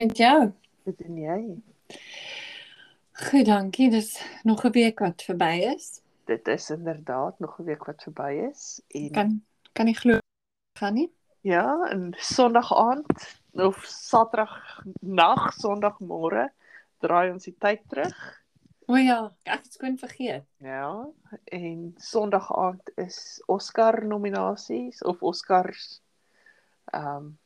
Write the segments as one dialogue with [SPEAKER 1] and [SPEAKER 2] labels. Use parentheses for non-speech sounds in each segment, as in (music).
[SPEAKER 1] Met jou.
[SPEAKER 2] Wat doen jy?
[SPEAKER 1] Goed, dankie. Dis nog 'n week wat verby is.
[SPEAKER 2] Dit is inderdaad nog 'n week wat verby is en
[SPEAKER 1] Kan kan nie glo gaan nie.
[SPEAKER 2] ja, en Sondag aand of Saterdag nag, Sondagmôre draai ons die tyd terug.
[SPEAKER 1] O ja, ek het skoon vergeet.
[SPEAKER 2] Ja, en Sondag aand is Oscar nominasies of Oscars ehm um,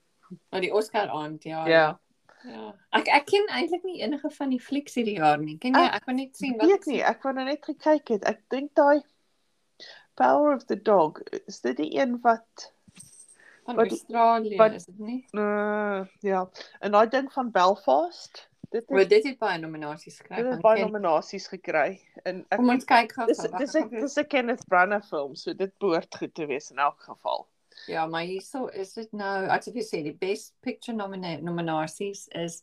[SPEAKER 1] Maar die Oscar aand, ja.
[SPEAKER 2] ja,
[SPEAKER 1] ja. Ek ek ken eintlik nie enige van die flieks hierdie jaar nie. Ken jy?
[SPEAKER 2] Ek
[SPEAKER 1] Ek kon net sien wat
[SPEAKER 2] Ah, weet nie, ek wou nou net gekyk het. Ek dink daai Power of the Dog, is dit die een wat
[SPEAKER 1] van
[SPEAKER 2] wat-
[SPEAKER 1] Australië
[SPEAKER 2] wat-
[SPEAKER 1] is dit nie.
[SPEAKER 2] uh, ja, en daai ding van Belfast, dit
[SPEAKER 1] Maar
[SPEAKER 2] het
[SPEAKER 1] dit het baie nominasies gekry.
[SPEAKER 2] Dit het
[SPEAKER 1] want
[SPEAKER 2] baie
[SPEAKER 1] Ken-
[SPEAKER 2] nominasies gekry en ek
[SPEAKER 1] Kom ons kyk gou.
[SPEAKER 2] dis
[SPEAKER 1] gou, wag,
[SPEAKER 2] dis
[SPEAKER 1] ek
[SPEAKER 2] ek
[SPEAKER 1] gaan-
[SPEAKER 2] dis 'n Kenneth Branagh film, so dit behoort goed te wees in elk geval.
[SPEAKER 1] Ja, maar hierso is dit nou, as ek vir sê, die best picture nomina nominasies is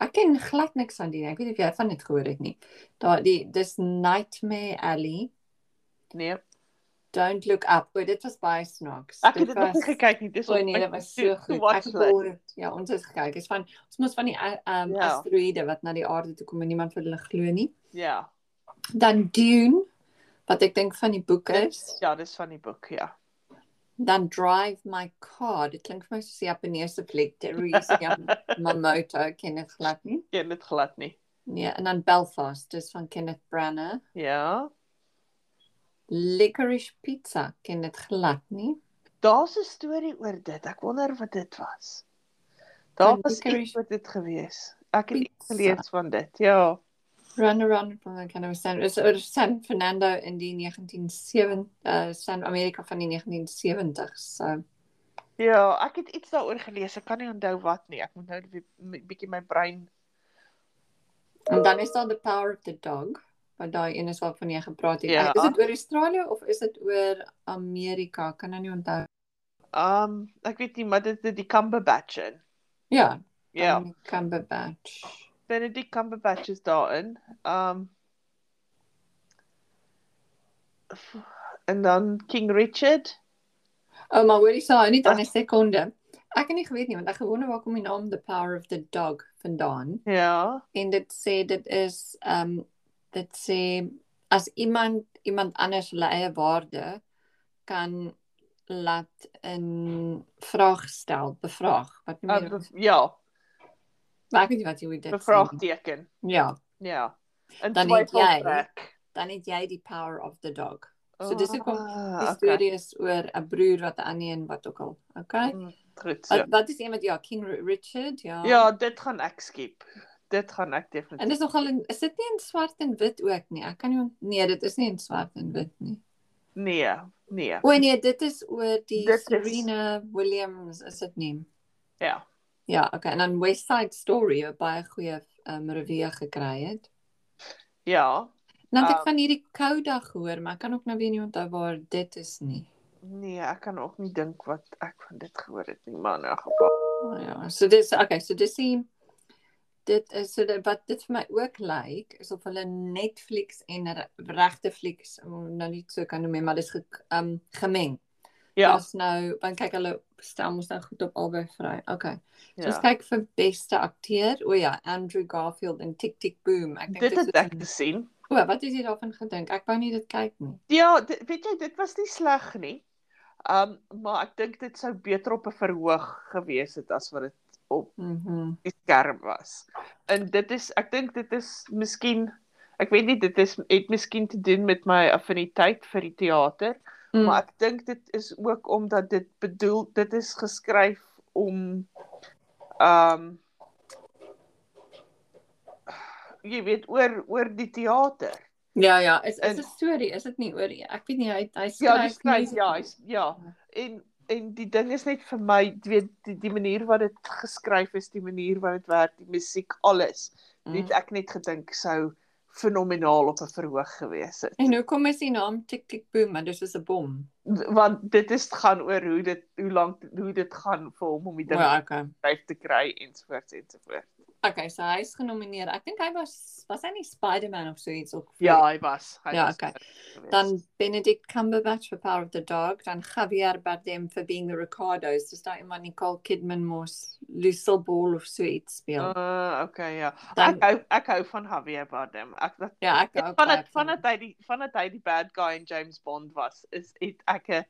[SPEAKER 1] ek ken glad niks van die nie. Ek weet nie of jy van dit gehoor het nie. Daar die dis Nightmare Alley,
[SPEAKER 2] Nee,
[SPEAKER 1] Don't Look Up. O, dit was baie snaaks.
[SPEAKER 2] ek het dit nog nie
[SPEAKER 1] was-
[SPEAKER 2] gekyk nie. Dis
[SPEAKER 1] O nee, dit was so goed. Ek
[SPEAKER 2] Ek
[SPEAKER 1] het ja, ons het gekyk. Dit is van ons moes van die um,
[SPEAKER 2] Ja.
[SPEAKER 1] ja. asteroïde wat na die aarde toe kom en niemand wil hulle glo nie.
[SPEAKER 2] ja,
[SPEAKER 1] Dan Dune wat ek dink van die boek is.
[SPEAKER 2] ja, dis van die boek, ja.
[SPEAKER 1] Dan Drive My Car. Dit klink vir my soos 'n Japannese fliek. Teresa Yam- Mamoto ken ek glad nie.
[SPEAKER 2] Ken dit glad nie.
[SPEAKER 1] Nee, en dan Belfast, dis van Kenneth Branagh.
[SPEAKER 2] Ja.
[SPEAKER 1] Licorice Pizza ken dit glad nie.
[SPEAKER 2] Daar's 'n storie oor dit. Ek wonder wat dit was. Daar
[SPEAKER 1] Van
[SPEAKER 2] was iets
[SPEAKER 1] Licorice
[SPEAKER 2] oor dit gewees. Ek het iets
[SPEAKER 1] Pizza.
[SPEAKER 2] gelees van dit. Ja.
[SPEAKER 1] Run around from the kind of San, is oor San Fernando in die 1970 uh San Amerika van die 1970s. So,
[SPEAKER 2] Ja, ek het iets daaroor gelees. Ek kan nie onthou wat nie. Ek moet nou 'n bi- bietjie my brein
[SPEAKER 1] en dan is daar The Power of the Dog, wat daai een is waarvan jy gepraat het.
[SPEAKER 2] Ja.
[SPEAKER 1] Is dit oor Australië of is dit oor Amerika? Kan nou nie onthou.
[SPEAKER 2] Ehm um, ek weet nie, maar dit dit die Cumberbatch in.
[SPEAKER 1] Ja,
[SPEAKER 2] Ja,
[SPEAKER 1] Dominic Cumberbatch.
[SPEAKER 2] Benedict Cumberbatch is daarin. Ehm um, en dan King Richard.
[SPEAKER 1] Oh, maar hoorie saai, net aan 'n sekonde. Ek het nie geweet nie, want ek gewonder waar kom die naam The Power of the Dog vandaan?
[SPEAKER 2] Ja,
[SPEAKER 1] En dit sê dit is ehm um, dit sê as iemand iemand anders hulle eie waarde kan laat in vraag stel, bevraag. Wat noem jy
[SPEAKER 2] uh,
[SPEAKER 1] dit?
[SPEAKER 2] be, ja,
[SPEAKER 1] Maar ek weet nie wat jy hoe dit sê nie.
[SPEAKER 2] bevraagteken.
[SPEAKER 1] Ja,
[SPEAKER 2] Ja. En
[SPEAKER 1] Dan het jy-
[SPEAKER 2] trek.
[SPEAKER 1] dan het jy die power of the dog. So dis hoekom
[SPEAKER 2] Ah,
[SPEAKER 1] die
[SPEAKER 2] okay.
[SPEAKER 1] storie is oor 'n broer wat aan een wat ook al. Okay.
[SPEAKER 2] Mm, Goed so.
[SPEAKER 1] Wat, wat is een met ja, King Ri- Richard, ja.
[SPEAKER 2] Ja, dit gaan ek skiep. Dit gaan ek
[SPEAKER 1] En
[SPEAKER 2] definitief.
[SPEAKER 1] dis nogal in, is dit nie in swart en wit ook nie. Ek kan nie on- nee, dit is nie in swart en wit nie.
[SPEAKER 2] Nee, nee.
[SPEAKER 1] O nee, dit is oor die
[SPEAKER 2] Dit is-
[SPEAKER 1] dit Serena is... Williams is dit nie.
[SPEAKER 2] Ja.
[SPEAKER 1] Ja, okay. En dan West Side Story wat baie goeie um, reviewe gekry het.
[SPEAKER 2] Ja.
[SPEAKER 1] Nou het ek
[SPEAKER 2] Ah.
[SPEAKER 1] van hierdie Kouda gehoor, maar ek kan ook nou weer nie onthou waar dit is nie.
[SPEAKER 2] Nee, ek kan ook nie dink wat ek van dit gehoor het nie, maar nou in elk geval.
[SPEAKER 1] Maar ja, so dis okay, so dis die dit is so dit, wat dit vir my ook lyk is of hulle Netflix en re- regte flieks om nou nie so kan noem nie, maar dis ge, um, gemeng. Ja.
[SPEAKER 2] Ja.
[SPEAKER 1] Dis nou, want kyk hulle stel ons nou goed op albei vry. Okay. So ja. ons
[SPEAKER 2] ja.
[SPEAKER 1] kyk vir beste akteur. O ja, Andrew Garfield in Tick Tick Boom. Ek dink
[SPEAKER 2] Dit het
[SPEAKER 1] is
[SPEAKER 2] ek
[SPEAKER 1] een-
[SPEAKER 2] gesien.
[SPEAKER 1] O, wat het jy daarvan gedink? Ek wou nie dit kyk nie.
[SPEAKER 2] Ja, dit, weet jy, dit was nie sleg nie. Um maar ek dink dit sou beter op 'n verhoog gewees het as wat dit op
[SPEAKER 1] Mhm.
[SPEAKER 2] die skerm was. En dit is ek dink dit is miskien ek weet nie dit is het miskien te doen met my affiniteit vir die teater,
[SPEAKER 1] Mm.
[SPEAKER 2] maar ek dink dit is ook omdat dit bedoel dit is geskryf om um jy weet oor oor die teater.
[SPEAKER 1] Ja ja, is
[SPEAKER 2] en-
[SPEAKER 1] is 'n storie, is dit nie oor ek weet nie hy hy
[SPEAKER 2] Ja, die skryf
[SPEAKER 1] music-
[SPEAKER 2] ja, hy's ja. En en die ding is net vir my, jy weet, die, die manier wat dit geskryf is, die manier wat dit werk, die musiek, alles.
[SPEAKER 1] Mm.
[SPEAKER 2] Dit ek net gedink sou fenomenaal op 'n verhoog gewees het.
[SPEAKER 1] En hoekom is die naam Tick Tick Boom? Want dit is 'n bom.
[SPEAKER 2] Want dit is gaan oor hoe dit hoe lank hoe dit gaan vir hom om die ding
[SPEAKER 1] Ja, okay.
[SPEAKER 2] skryf te kry ensovoorts ensovoorts.
[SPEAKER 1] Okay, so hy's genomineer. Ek dink hy was was hy nie Spider-Man of so iets ook. vir-
[SPEAKER 2] Ja, hy was. Hy
[SPEAKER 1] Ja,
[SPEAKER 2] was
[SPEAKER 1] okay.
[SPEAKER 2] geweest.
[SPEAKER 1] Dan Benedict Cumberbatch vir Power of the Dog, dan Javier Bardem vir Being the Ricardos, dis daai iemand Nicole Kidman mos Lucille Ball of so iets speel.
[SPEAKER 2] Uh, okay, ja.
[SPEAKER 1] Dan
[SPEAKER 2] Ek hou ek hou van Javier Bardem. Ek dat
[SPEAKER 1] ja, ek
[SPEAKER 2] Dit
[SPEAKER 1] ook.
[SPEAKER 2] van
[SPEAKER 1] baie
[SPEAKER 2] dit van dit hy die van dit hy die bad guy in James Bond was is het ek 'n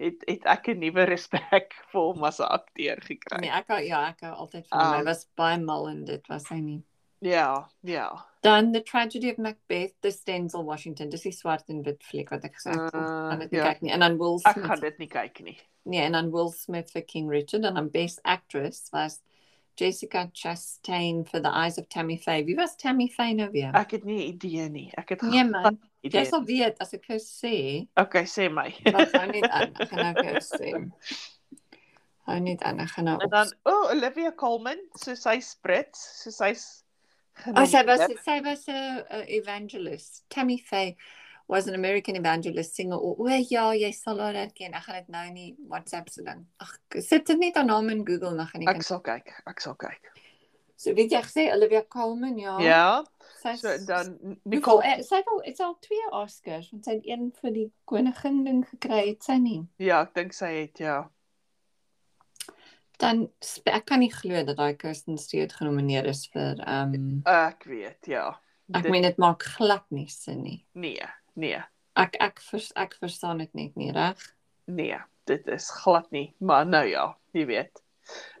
[SPEAKER 2] het het ek 'n nuwe respek (laughs) vir hom as 'n akteur gekry.
[SPEAKER 1] Nee, ek hou- ja, ek hou altyd van hom. Hy
[SPEAKER 2] Um,
[SPEAKER 1] was baie mal en dit was hy nie.
[SPEAKER 2] Ja, ja.
[SPEAKER 1] Dan The Tragedy of Macbeth, dis Denzel Washington. Dis die swart en wit fliek wat ek gesê het.
[SPEAKER 2] Uh,
[SPEAKER 1] Kan dit nie
[SPEAKER 2] ja.
[SPEAKER 1] kyk nie. En dan Will
[SPEAKER 2] Ek gaan
[SPEAKER 1] Smith.
[SPEAKER 2] dit nie kyk nie.
[SPEAKER 1] Nee, en dan Will Smith vir King Richard en dan Best Actress was Jessica Chastain vir The Eyes of Tammy Faye. Wie was Tammy Faye nou weer?
[SPEAKER 2] Ek het nie 'n idee nie. Ek het
[SPEAKER 1] Nee man,
[SPEAKER 2] geen idee.
[SPEAKER 1] jy sal weet as ek vir jou sê,
[SPEAKER 2] Okay, sê
[SPEAKER 1] (laughs)
[SPEAKER 2] my.
[SPEAKER 1] wat hou net aan. Ek gaan nou vir jou sê. Hou net aan, ek gaan nou.
[SPEAKER 2] en dan o, oh, Olivia Colman, so sy's Brit, so sy's
[SPEAKER 1] Oh, sy was sy was 'n 'n uh, evangelist. Tammy Faye was an American evangelist singer. O, o ja, jy sal haar herken. Ek gaan dit nou nie WhatsApp se ding. Ag, sit dit net haar naam in Google dan gaan jy
[SPEAKER 2] Ek
[SPEAKER 1] kan.
[SPEAKER 2] sal kyk. Ek sal kyk.
[SPEAKER 1] So weet jy gesê Olivia Colman, ja.
[SPEAKER 2] Ja.
[SPEAKER 1] Sy
[SPEAKER 2] So dan Nicole
[SPEAKER 1] Nicole, sy het al dit's al twee Oscars, want sy het een vir die koningin ding gekry, het sy nie.
[SPEAKER 2] Ja, ek dink sy het ja.
[SPEAKER 1] Dan sp- ek kan nie glo dat daai Kirsten Stewart genomineer is vir ehm um,
[SPEAKER 2] Ek weet, ja.
[SPEAKER 1] ek
[SPEAKER 2] Dit-
[SPEAKER 1] meen dit maak glad nie sin nie.
[SPEAKER 2] nee, nee.
[SPEAKER 1] Ek ek vers, ek verstaan dit net nie reg.
[SPEAKER 2] Nee, dit is glad nie, maar nou ja, jy weet.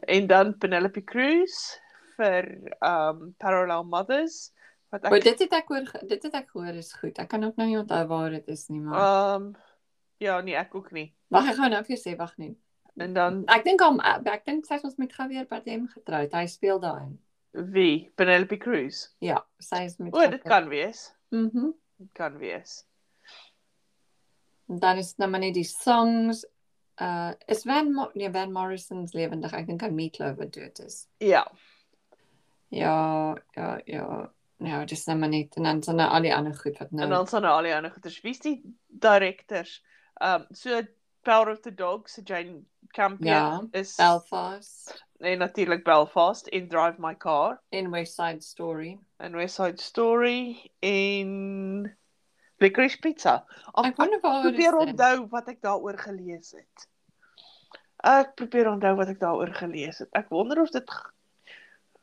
[SPEAKER 2] En dan Penelope Cruz vir um Parallel Mothers wat
[SPEAKER 1] Maar
[SPEAKER 2] ek
[SPEAKER 1] dit het ek hoor ge- dit het ek gehoor is goed. Ek kan ook nou nie onthou waar dit is nie, maar
[SPEAKER 2] um ja, nee, ek ook nie.
[SPEAKER 1] wag ek gaan nou vir jou sê wag net.
[SPEAKER 2] En dan
[SPEAKER 1] Ek dink hom eh, ek dink sy het ons met Javier Bardem getroud. Hy speel daarin.
[SPEAKER 2] wie? Penelope Cruz.
[SPEAKER 1] Ja, sy is met
[SPEAKER 2] O, dit kan wees.
[SPEAKER 1] Mhm. Mm
[SPEAKER 2] Dit kan wees.
[SPEAKER 1] dan is dit nou maar net die songs uh is Van Mo nee, Van Morrison's lewendig. Ek dink hy Meatloaf wat dood is.
[SPEAKER 2] Ja,
[SPEAKER 1] Ja, ja, ja. Ja, dis nou maar net en dan sal nou al die ander goed wat nou.
[SPEAKER 2] en dan staan al die ander goeters. Wie's die directors? Um so Power of the Dog se Jane Campion
[SPEAKER 1] Ja,
[SPEAKER 2] is
[SPEAKER 1] Belfast
[SPEAKER 2] en natuurlik Belfast en Drive My Car.
[SPEAKER 1] en West Side Story.
[SPEAKER 2] en West Side Story en Licorice Pizza. Of,
[SPEAKER 1] Ek
[SPEAKER 2] ek
[SPEAKER 1] wonder waar dit
[SPEAKER 2] probeer
[SPEAKER 1] is.
[SPEAKER 2] onthou wat ek daaroor gelees het. Ek probeer onthou wat ek daaroor gelees het. Ek wonder of dit g-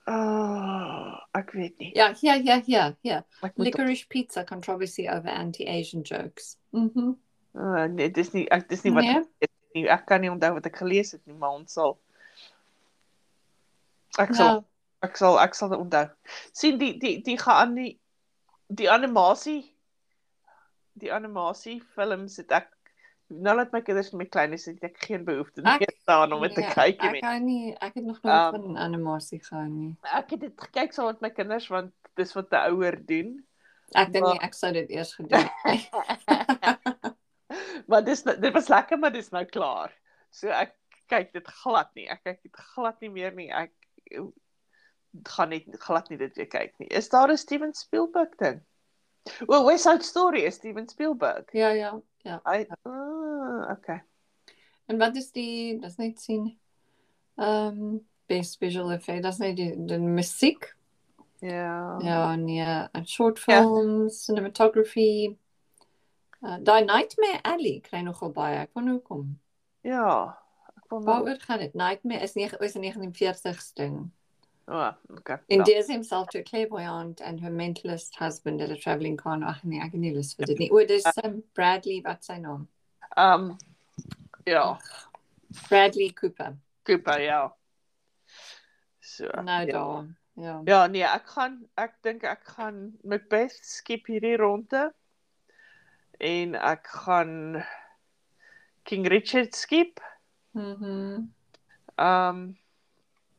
[SPEAKER 2] uh, ek weet nie.
[SPEAKER 1] Ja, ja, ja, ja, ja.
[SPEAKER 2] Ek moet
[SPEAKER 1] Licorice pizza controversy over anti-Asian jokes. Mhm.
[SPEAKER 2] uh, nee, dis nie ek dis nie wat
[SPEAKER 1] Nee.
[SPEAKER 2] ek gelees het nie. Ek kan nie onthou wat ek gelees het nie, maar ons sal Ek sal
[SPEAKER 1] Ja,
[SPEAKER 2] ek sal ek sal dit onthou. sien die die die gaan die die animasie die animasie films het ek nou laat my kinders met my kleines het ek Ja, geen behoefte
[SPEAKER 1] Ek-
[SPEAKER 2] meer daaraan om dit te
[SPEAKER 1] nee,
[SPEAKER 2] kyk
[SPEAKER 1] Nou, Ek
[SPEAKER 2] nie.
[SPEAKER 1] kan nie ek het nog nooit
[SPEAKER 2] Um,
[SPEAKER 1] van animasie gehou nie.
[SPEAKER 2] Ek het dit gekyk saam met my kinders want dis wat 'n ouer doen.
[SPEAKER 1] Ek dink
[SPEAKER 2] maar-
[SPEAKER 1] nie ek sou dit eers gedoen het.
[SPEAKER 2] (laughs) maar dis nou- dit was lekker maar dis nou klaar. So ek kyk dit glad nie. Ek kyk dit glad nie meer nie. Ek eh, gaan net glad nie dit weer kyk nie. Is daar 'n Steven Spielberg ding? O, West Side Story is Steven Spielberg.
[SPEAKER 1] nie. ja, ja, ja.
[SPEAKER 2] Hy ah, okay.
[SPEAKER 1] En wat is die dis net sien. Ehm um, best visual effect. Dis net die, die musiek.
[SPEAKER 2] Ja.
[SPEAKER 1] Ja, nee, en short films, cinematography. Uh, daai Nightmare Alley kry nogal baie. Ek wonder hoekom.
[SPEAKER 2] Ja. Ek wil maar
[SPEAKER 1] Waaroor gaan dit? Nightmare is nege- is 'n 1940s ding.
[SPEAKER 2] O, okay.
[SPEAKER 1] Endears himself to a clairvoyant and her mentalist husband at a traveling con. Ag nee, ek het nie lus vir dit nie. O, dis
[SPEAKER 2] Ja.
[SPEAKER 1] um, Bradley wat sy naam.
[SPEAKER 2] Ehm um, ja,
[SPEAKER 1] Bradley Cooper.
[SPEAKER 2] Cooper, ja. So.
[SPEAKER 1] Nou
[SPEAKER 2] ja.
[SPEAKER 1] daar. Ja.
[SPEAKER 2] Ja, nee, ek gaan ek dink ek gaan Macbeth skip hierdie ronde en ek gaan King Richard skip.
[SPEAKER 1] Mhm.
[SPEAKER 2] Um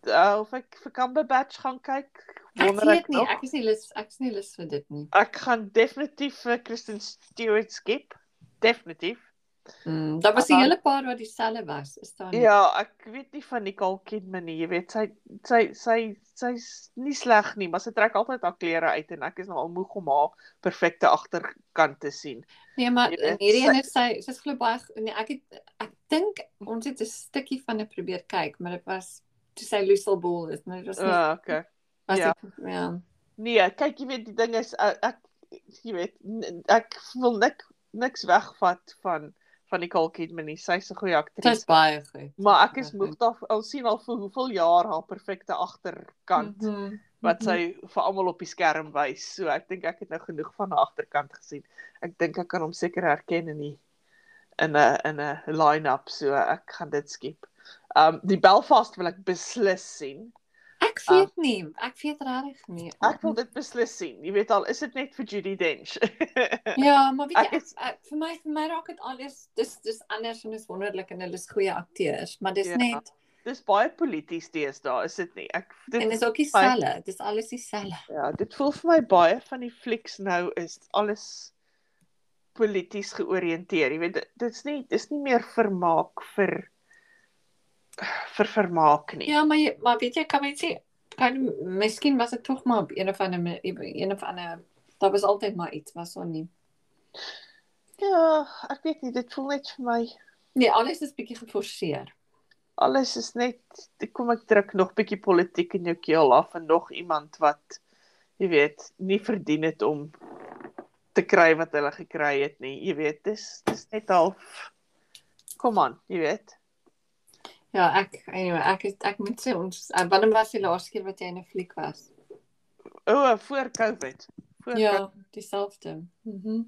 [SPEAKER 2] uh, of ek vir Cumberbatch gaan kyk,
[SPEAKER 1] Ek
[SPEAKER 2] wonder
[SPEAKER 1] weet
[SPEAKER 2] ek
[SPEAKER 1] nie,
[SPEAKER 2] nog.
[SPEAKER 1] ek is nie lus, ek is nie lus vir dit nie.
[SPEAKER 2] Ek gaan definitief vir Kristen Stewart skip. Definitief.
[SPEAKER 1] Mm, daar was 'n
[SPEAKER 2] Maar-
[SPEAKER 1] hele paar wat dieselfde was, is daar nie?
[SPEAKER 2] Ja, ek weet nie van Nicole Kidman nie, jy weet sy sy sy sy's nie sleg nie, maar sy trek altyd haar klere uit en ek is nou al moeg om haar perfekte agterkant te sien.
[SPEAKER 1] Nee, maar
[SPEAKER 2] Jy
[SPEAKER 1] in
[SPEAKER 2] weet,
[SPEAKER 1] hierdie
[SPEAKER 2] sy-
[SPEAKER 1] een is sy sy's glo baie go- nee, ek het ek dink ons het 'n stukkie van dit probeer kyk, maar dit was toe sy Lucille Ball is, maar dit was nie
[SPEAKER 2] O, okay.
[SPEAKER 1] As
[SPEAKER 2] Ah, Ja.
[SPEAKER 1] ja. Ek, ja.
[SPEAKER 2] Nee, kyk, jy weet die ding is eh, ek, ek jy weet n- ek wil nik niks wegvat van van die Kal Kidman nie. Sy's 'n goeie
[SPEAKER 1] Dit
[SPEAKER 2] aktris,
[SPEAKER 1] is Ja, baie goed.
[SPEAKER 2] maar ek is moeg daar al sien al vir hoeveel jaar haar perfekte agterkant mm -hmm.
[SPEAKER 1] Mhm.
[SPEAKER 2] wat sy vir almal op die skerm wys. So ek dink ek het nou genoeg van haar agterkant gesien. Ek dink ek kan hom seker herken in die in 'n in 'n line-up, so ek gaan dit skiep. Um die Belfast wil ek beslis sien.
[SPEAKER 1] Ek weet nie, ek weet regtig nie.
[SPEAKER 2] Ah. Ek wil dit beslis sien. Jy weet al is dit net vir Judy Dench. (laughs)
[SPEAKER 1] Ja, maar weet
[SPEAKER 2] Ek
[SPEAKER 1] jy ek,
[SPEAKER 2] is-
[SPEAKER 1] ek, vir my vir my raak dit alles dis dis anders en is wonderlik en hulle is goeie akteurs, maar dis
[SPEAKER 2] Ja.
[SPEAKER 1] ja. net
[SPEAKER 2] Dis baie polities deesdae, is dit nie? Ek
[SPEAKER 1] en
[SPEAKER 2] dit
[SPEAKER 1] dis ook dieselfde, dis alles dieselfde.
[SPEAKER 2] ja, dit voel vir my baie van die flieks nou is alles polities georiënteer. Jy weet dit- dit's nie dis nie meer vermaak vir vir vermaak nie.
[SPEAKER 1] Ja, maar jy, maar weet jy kan mens sê kan miskien was dit tog maar op een of ander ma- op een of ander daar was altyd maar iets was so nie.
[SPEAKER 2] ja, ek weet nie, dit voel net vir my
[SPEAKER 1] Nee, alles is bietjie geforseer.
[SPEAKER 2] alles is net kom ek druk nog bietjie politiek in jou keel af en nog iemand wat jy weet nie verdien het om te kry wat hulle gekry het nie. Jy weet, dis dis net half kom aan, jy weet.
[SPEAKER 1] Ja, ek anyway, ek is, ek moet sê ons eh, wanneer was die laaste keer wat jy in 'n fliek was?
[SPEAKER 2] O, oh, voor COVID. Voor COVID.
[SPEAKER 1] Ja, dieselfde. Mhm.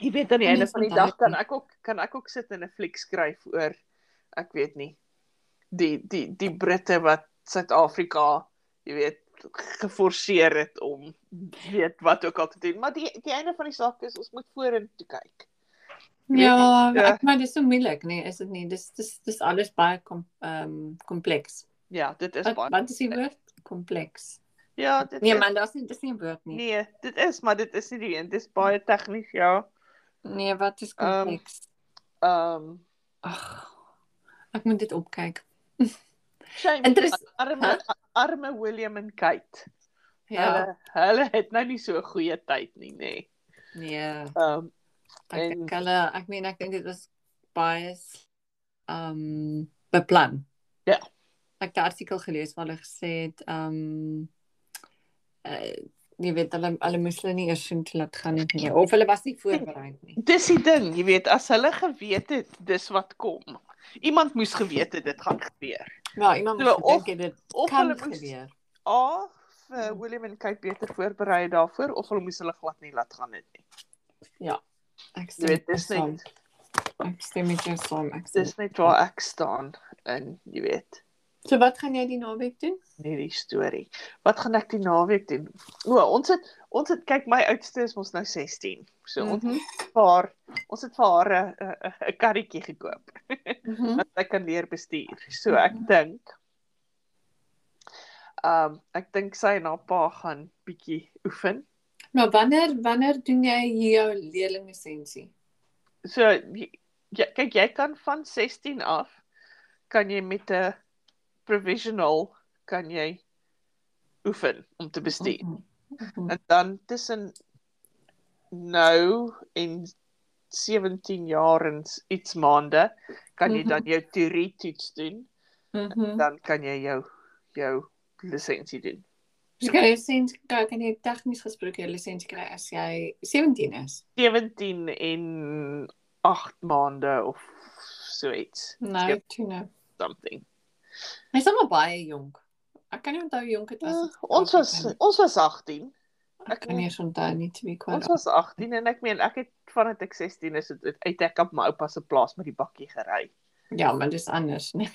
[SPEAKER 2] Jy weet aan die
[SPEAKER 1] Nee,
[SPEAKER 2] einde van die
[SPEAKER 1] vandag
[SPEAKER 2] dag kan
[SPEAKER 1] nie.
[SPEAKER 2] ek ook kan ek ook sit en 'n fliek skryf oor ek weet nie. Die die die Britte wat Suid-Afrika, jy weet, geforseer het om weet wat ook al te doen, maar die die einde van die saak is ons moet vorentoe kyk. Weet
[SPEAKER 1] Ja,
[SPEAKER 2] eh,
[SPEAKER 1] ek maar dis so moeilik, nee, is dit nie. Dis dis dis alles baie kom ehm um, kompleks.
[SPEAKER 2] Ja, dit is
[SPEAKER 1] Wat
[SPEAKER 2] baie.
[SPEAKER 1] wat is die woord? Kompleks.
[SPEAKER 2] Ja, dit
[SPEAKER 1] Nee
[SPEAKER 2] is,
[SPEAKER 1] man, daar's nie dis nie 'n woord nie.
[SPEAKER 2] nee, dit is, maar dit is nie die een, dit is baie tegnies, ja.
[SPEAKER 1] Nee, wat is
[SPEAKER 2] Ehm,
[SPEAKER 1] kompleks?
[SPEAKER 2] Ehm um,
[SPEAKER 1] Ag. Ek moet dit opkyk.
[SPEAKER 2] shame.
[SPEAKER 1] Interess-
[SPEAKER 2] arme arme William en Kate.
[SPEAKER 1] Ja.
[SPEAKER 2] Hulle hulle het nou nie so 'n goeie tyd nie, nê. Nee.
[SPEAKER 1] Nee,
[SPEAKER 2] Ehm um,
[SPEAKER 1] ek
[SPEAKER 2] En-
[SPEAKER 1] dink hulle ek meen ek dink dit was baie ehm um, beplan.
[SPEAKER 2] Ja.
[SPEAKER 1] Ek het 'n artikel gelees waar hulle gesê het ehm um, uh, jy weet hulle hulle moes hulle nie eers soontoe laat gaan het
[SPEAKER 2] Ja.
[SPEAKER 1] nie of hulle was nie voorberei nie.
[SPEAKER 2] dis die ding, jy weet, as hulle geweet het dis wat kom. Iemand moes geweet het dit gaan gebeur.
[SPEAKER 1] Ja, iemand
[SPEAKER 2] So,
[SPEAKER 1] moet
[SPEAKER 2] of-
[SPEAKER 1] gedink het dit
[SPEAKER 2] Of
[SPEAKER 1] kan
[SPEAKER 2] hulle moes
[SPEAKER 1] gebeur.
[SPEAKER 2] A vir William en Kate beter voorberei het daarvoor of hulle moes hulle glad nie laat gaan het nie.
[SPEAKER 1] Ek
[SPEAKER 2] Jy
[SPEAKER 1] stem
[SPEAKER 2] weet,
[SPEAKER 1] met jou
[SPEAKER 2] dis
[SPEAKER 1] saam.
[SPEAKER 2] net
[SPEAKER 1] Ek stem met jou saam. Ek stem.
[SPEAKER 2] dis net waar ek staan in, jy weet,
[SPEAKER 1] So wat gaan jy die naweek doen?
[SPEAKER 2] hierdie storie. Wat gaan ek die naweek doen? O, ons het ons het kyk my oudste is mos nou 16. So ons
[SPEAKER 1] Mhm.
[SPEAKER 2] het vir haar ons het vir haar 'n- 'n- 'n karretjie gekoop.
[SPEAKER 1] Mhm.
[SPEAKER 2] wat ek kan leer bestuur. So ek dink ehm um, ek dink sy en haar pa gaan bietjie oefen.
[SPEAKER 1] Maar wanneer wanneer doen jy hier jou leerlinglisensie?
[SPEAKER 2] So jy, jy, kyk jy kan van 16 af kan jy met 'n provisional kan jy oefen om te bestuur.
[SPEAKER 1] Mhm. Mhm.
[SPEAKER 2] En dan tussen nou en 17 jaar en s- iets maande kan jy dan jou teorie toets doen.
[SPEAKER 1] Mhm.
[SPEAKER 2] dan kan jy jou jou lisensie doen.
[SPEAKER 1] So kan jy lisensie kry, kan jy tegnies gesproke jou lisensie kry as jy 17 is.
[SPEAKER 2] 17 en 8 maande of so iets.
[SPEAKER 1] Nou,
[SPEAKER 2] Yep.
[SPEAKER 1] toe nou.
[SPEAKER 2] Something.
[SPEAKER 1] Hy's sommer baie jonk. Ek kan nie onthou hoe jonk dit was.
[SPEAKER 2] Uh,
[SPEAKER 1] as ek
[SPEAKER 2] ons was
[SPEAKER 1] was
[SPEAKER 2] ons was 18.
[SPEAKER 1] ek kan nie eens onthou nie te wie kwam.
[SPEAKER 2] Ons was 18 en ek meen ek het vandat ek 16 is het, het uit ek op my oupa se plaas met die bakkie gery.
[SPEAKER 1] Ja, maar dis anders, (laughs) nee.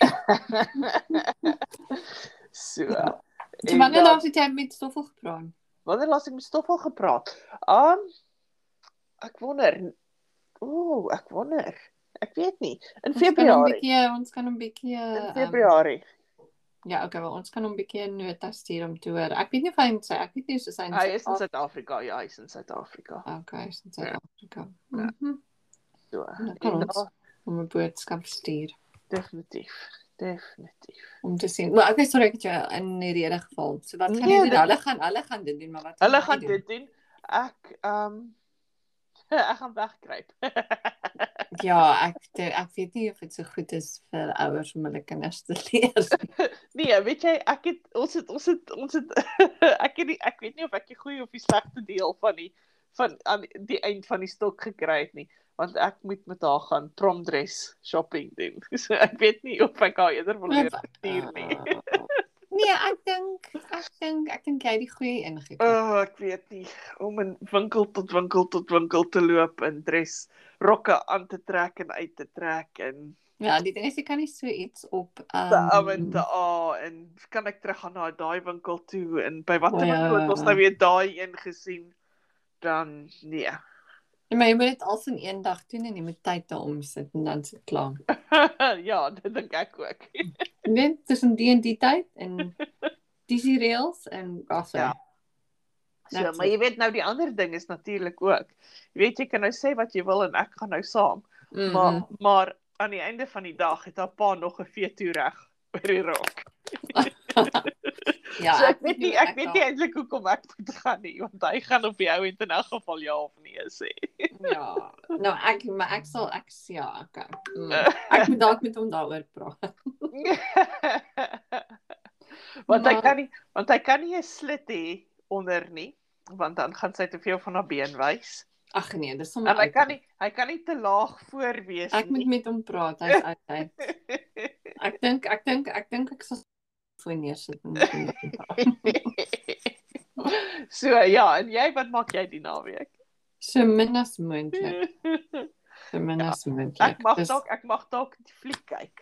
[SPEAKER 2] so.
[SPEAKER 1] Ja. So
[SPEAKER 2] en
[SPEAKER 1] wanneer
[SPEAKER 2] dan-
[SPEAKER 1] laas het jy met Stoffel gepraat?
[SPEAKER 2] Wanneer laas ek met Stoffel gepraat? Um ek wonder. Ooh, ek wonder. Ek weet nie. In
[SPEAKER 1] Ons kan hom
[SPEAKER 2] Februarie.
[SPEAKER 1] bietjie, ons kan hom bietjie
[SPEAKER 2] In
[SPEAKER 1] ehm,
[SPEAKER 2] Februarie.
[SPEAKER 1] Ja, okay, wel ons kan hom 'n bietjie 'n nota stuur om te hoor. Ek weet nie of hy in sy ek weet nie of hy in
[SPEAKER 2] Hy is in
[SPEAKER 1] Suid-Af-
[SPEAKER 2] Suid-Afrika. Ja, hy is in Suid-Afrika.
[SPEAKER 1] Okay, hy is in Suid-Afrika. Mhm.
[SPEAKER 2] So.
[SPEAKER 1] Dan kan
[SPEAKER 2] en
[SPEAKER 1] Ja, ons
[SPEAKER 2] daar-
[SPEAKER 1] hom 'n boodskap stuur
[SPEAKER 2] Definitief. Definitief.
[SPEAKER 1] om te sien. Maar ek is sorry ek het jou in die rede geval. So wat gaan
[SPEAKER 2] Nee,
[SPEAKER 1] jy doen?
[SPEAKER 2] dit-
[SPEAKER 1] Hulle gaan hulle gaan dit doen, maar wat
[SPEAKER 2] Hulle
[SPEAKER 1] jy
[SPEAKER 2] gaan
[SPEAKER 1] doen?
[SPEAKER 2] (laughs) dit doen. Ek ehm um, ek gaan wegkruip.
[SPEAKER 1] Ja, ek ek weet nie of dit so goed is vir ouers om hulle kinders te (laughs) leer.
[SPEAKER 2] (laughs) Nee, weet jy, ek het ons het ons het ons het (laughs) ek het nie, ek weet nie of ek die goeie of die slegste deel van die van aan die eind van die stok gekry het nie, want ek moet met haar gaan promdress shopping doen. (laughs) So ek weet nie of ek haar eerder wil leer stuur nie.
[SPEAKER 1] Ah. Nee, ek dink ek dink ek dink jy het die goeie ingekry.
[SPEAKER 2] O, oh, ek weet nie om in winkel tot winkel tot winkel te loop en dress rokke aan te trek en uit te trek en
[SPEAKER 1] Ja, die ding is jy kan nie so iets op
[SPEAKER 2] te um, en
[SPEAKER 1] um,
[SPEAKER 2] te a en kan ek terug gaan na daai winkel toe en by watter
[SPEAKER 1] O, ja.
[SPEAKER 2] winkel het ons nou weer daai een gesien dan nee. (laughs)
[SPEAKER 1] Nee, maar jy moet dit als in een dag doen en jy moet tyd daaroor sit en dan sit klaar.
[SPEAKER 2] ja, dit dink
[SPEAKER 1] (laughs)
[SPEAKER 2] ek ook.
[SPEAKER 1] Jy weet tussen die en die tyd en
[SPEAKER 2] (laughs)
[SPEAKER 1] dis die reëls en afsê.
[SPEAKER 2] Ja.
[SPEAKER 1] Ja.
[SPEAKER 2] So,
[SPEAKER 1] That's
[SPEAKER 2] maar
[SPEAKER 1] it.
[SPEAKER 2] jy weet nou die ander ding is natuurlik ook. Jy weet jy kan nou sê wat jy wil en ek gaan nou saam,
[SPEAKER 1] Mm.
[SPEAKER 2] maar maar aan die einde van die dag het haar pa nog 'n veto reg oor die rok.
[SPEAKER 1] ja,
[SPEAKER 2] so ek weet nie ek weet nie
[SPEAKER 1] daar-
[SPEAKER 2] eintlik hoekom ek moet gaan nie, want hy gaan op die ou end in 'n geval ja of nee sê.
[SPEAKER 1] Ja. Nou ek maar ek sal ek ja, okay.
[SPEAKER 2] (laughs)
[SPEAKER 1] Mm. Ek moet dalk met hom daaroor praat.
[SPEAKER 2] (laughs) want hy
[SPEAKER 1] Maar-
[SPEAKER 2] kan nie want hy kan nie 'n slit hê onder nie, want dan gaan sy te veel van haar been wys.
[SPEAKER 1] Ag nee, dis sommer
[SPEAKER 2] En hy
[SPEAKER 1] oud.
[SPEAKER 2] Ja, kan nie hy kan nie te laag voor wees
[SPEAKER 1] Ek moet
[SPEAKER 2] nie. (laughs)
[SPEAKER 1] met hom praat, hy's uit hy. Ek dink ek dink ek dink ek sal voor neersit en met hom daaroor praat.
[SPEAKER 2] so ja, en jy wat maak jy die naweek?
[SPEAKER 1] so min as
[SPEAKER 2] Ja.
[SPEAKER 1] moontlik, so min as moontlik.
[SPEAKER 2] ek mag
[SPEAKER 1] Ja. Dis-
[SPEAKER 2] dalk ek mag dalk die fliek kyk.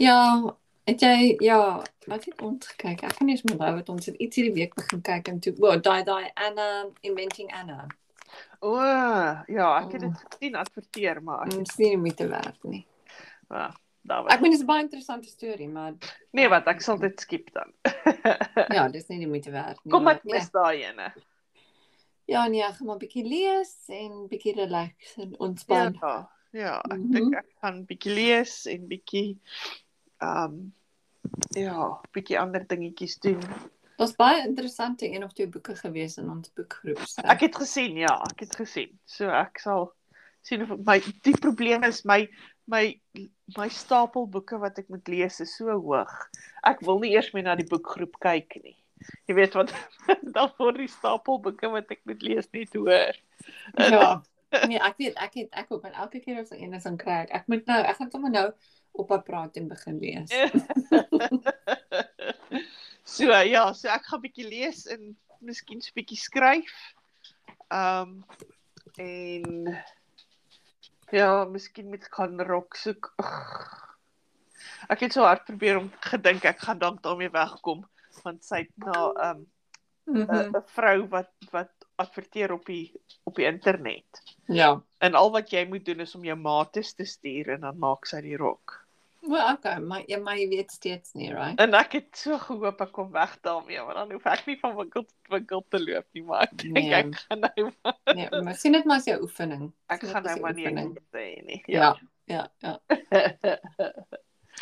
[SPEAKER 1] Ja, het jy ja, wat het ons gekyk? Ek kan nie eens onthou wat ons het iets hierdie week begin kyk en toe, o, daai daai Anna Inventing Anna.
[SPEAKER 2] O, ja, ek het dit gesien adverteer maar ek
[SPEAKER 1] Ons sien nie met te werk nie.
[SPEAKER 2] ah, daar
[SPEAKER 1] Mm. Ek
[SPEAKER 2] was.
[SPEAKER 1] meen dis 'n baie interessante storie, maar
[SPEAKER 2] (laughs) Nee, wat ek sal dit skip dan.
[SPEAKER 1] ja, dis nie die moeite werd nie.
[SPEAKER 2] Kom
[SPEAKER 1] maar
[SPEAKER 2] ek
[SPEAKER 1] nee.
[SPEAKER 2] mis daai ene.
[SPEAKER 1] Ja, nee, ek gaan maar 'n bietjie lees en bietjie relax en ontspan.
[SPEAKER 2] Ja. Ja, ek
[SPEAKER 1] Mhm.
[SPEAKER 2] dink ek gaan bietjie lees en bietjie ehm um, ja, bietjie ander dingetjies doen.
[SPEAKER 1] Daar's baie interessante een of twee boeke gewees in ons boekgroep. So.
[SPEAKER 2] Ek het gesien, ja, ek het gesien. So ek sal sien of my die probleem is my my my stapel boeke wat ek moet lees is so hoog. Ek wil nie eers meer na die boekgroep kyk nie. Jy weet wat (laughs) dan word die stapel boeke wat ek moet lees net hoër.
[SPEAKER 1] (laughs)
[SPEAKER 2] (laughs)
[SPEAKER 1] Ja. Nee, ek weet ek het ek ook en elke keer as ek een is dan kry ek. Ek moet nou, ek gaan sommer nou op haar praat en begin lees.
[SPEAKER 2] Ja. so ja, so ek gaan bietjie lees en miskien so bietjie skryf. Ehm um, en ja, miskien met gaan rok soek. Ugh. Ek het so hard probeer om gedink ek gaan dalk daarmee wegkom want sy het na 'n um,
[SPEAKER 1] Mm
[SPEAKER 2] 'n- 'n vrou wat wat adverteer op die op die internet.
[SPEAKER 1] Ja.
[SPEAKER 2] En al wat jy moet doen is om jou mates te stuur en dan maak sy die rok.
[SPEAKER 1] Wel, okay, maar ja, maar jy weet steeds nie, right?
[SPEAKER 2] En ek het so gehoop ek kom weg daarmee, want dan hoef ek nie van winkel tot winkel te loop nie, maar ek dink nee.
[SPEAKER 1] Nee.
[SPEAKER 2] ek gaan nou
[SPEAKER 1] Nee, maar sien dit maar as jou oefening.
[SPEAKER 2] ek
[SPEAKER 1] Sien dit
[SPEAKER 2] gaan nou
[SPEAKER 1] as jou
[SPEAKER 2] maar nie
[SPEAKER 1] oefening.
[SPEAKER 2] sê nie. Ja.
[SPEAKER 1] Ja, ja, ja.
[SPEAKER 2] ja.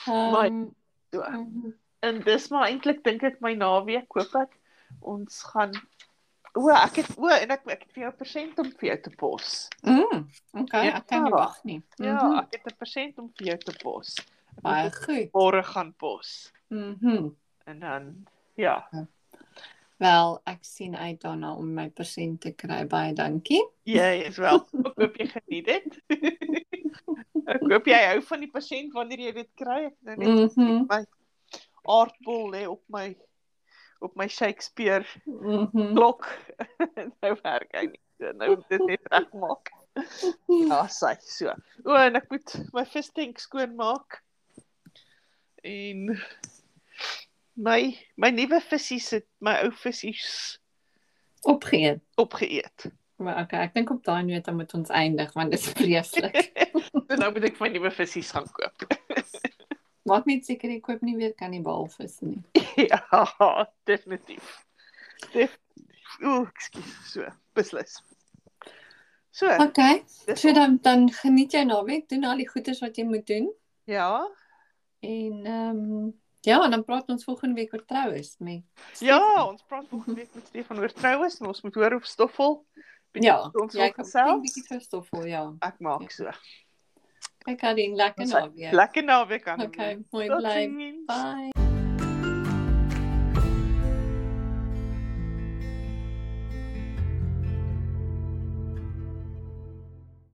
[SPEAKER 2] Maar- ja.
[SPEAKER 1] Ehm,
[SPEAKER 2] so.
[SPEAKER 1] mhm.
[SPEAKER 2] (laughs) En dis maar eintlik dink ek my naweek koop ek ons gaan o, ek het o en ek ek het vir jou 'n persent om vir jou te pos.
[SPEAKER 1] Mm, okay,
[SPEAKER 2] Ja.
[SPEAKER 1] ek kan nie wag nie.
[SPEAKER 2] Ja, mm -hmm.
[SPEAKER 1] Mhm,
[SPEAKER 2] ek het 'n persent om vir jou te pos. Ek
[SPEAKER 1] Baie
[SPEAKER 2] moet dit
[SPEAKER 1] goed.
[SPEAKER 2] môre gaan pos.
[SPEAKER 1] Mhm.
[SPEAKER 2] En dan ja,
[SPEAKER 1] Wel, ek sien uit daarna om my persent te kry. Baie dankie.
[SPEAKER 2] jy is wel. Ek hoop jy geniet dit. (laughs) ek hoop jy hou van die persent wanneer jy dit kry. Ek het nou net
[SPEAKER 1] Mhm.
[SPEAKER 2] aardbol lê op my op my Shakespeare
[SPEAKER 1] Mhm.
[SPEAKER 2] klok. (laughs) nou werk hy nie. So, nou moet dit net regmaak.
[SPEAKER 1] mhm.
[SPEAKER 2] Ja, sy so. O, en ek moet my visstenk skoon maak. En my my nuwe vissies het my ou vissies
[SPEAKER 1] Opgeëet.
[SPEAKER 2] opgeëet.
[SPEAKER 1] Maar okay, ek dink op daai noot dan moet ons eindig want dit is (laughs) vreeslik.
[SPEAKER 2] So nou moet ek my nuwe vissies gaan koop. (laughs)
[SPEAKER 1] Maak net seker jy koop nie weer kannibalvis nie.
[SPEAKER 2] ja, definitief. Definitief. O, ekskuus, so. Beslis. So,
[SPEAKER 1] Okay.
[SPEAKER 2] Ja, dis
[SPEAKER 1] So dan dan geniet jou naweek, doen al die goeders wat jy moet doen
[SPEAKER 2] ja.
[SPEAKER 1] en ehm um, ja, en dan praat ons volgende week oor troues met
[SPEAKER 2] Ja, ons praat volgende week met Stefan oor troues en ons moet hoor of Stoffel
[SPEAKER 1] Ja,
[SPEAKER 2] ons
[SPEAKER 1] jy
[SPEAKER 2] wil
[SPEAKER 1] kan
[SPEAKER 2] gesels.
[SPEAKER 1] bietjie verstoffel, ja.
[SPEAKER 2] Ek maak so.
[SPEAKER 1] Ek kan dit lekker
[SPEAKER 2] Ons-
[SPEAKER 1] naweek.
[SPEAKER 2] Lekker naweek aan.
[SPEAKER 1] Ja. Okay, mooi
[SPEAKER 2] Tot
[SPEAKER 1] bly.
[SPEAKER 2] ziens.
[SPEAKER 1] Bye.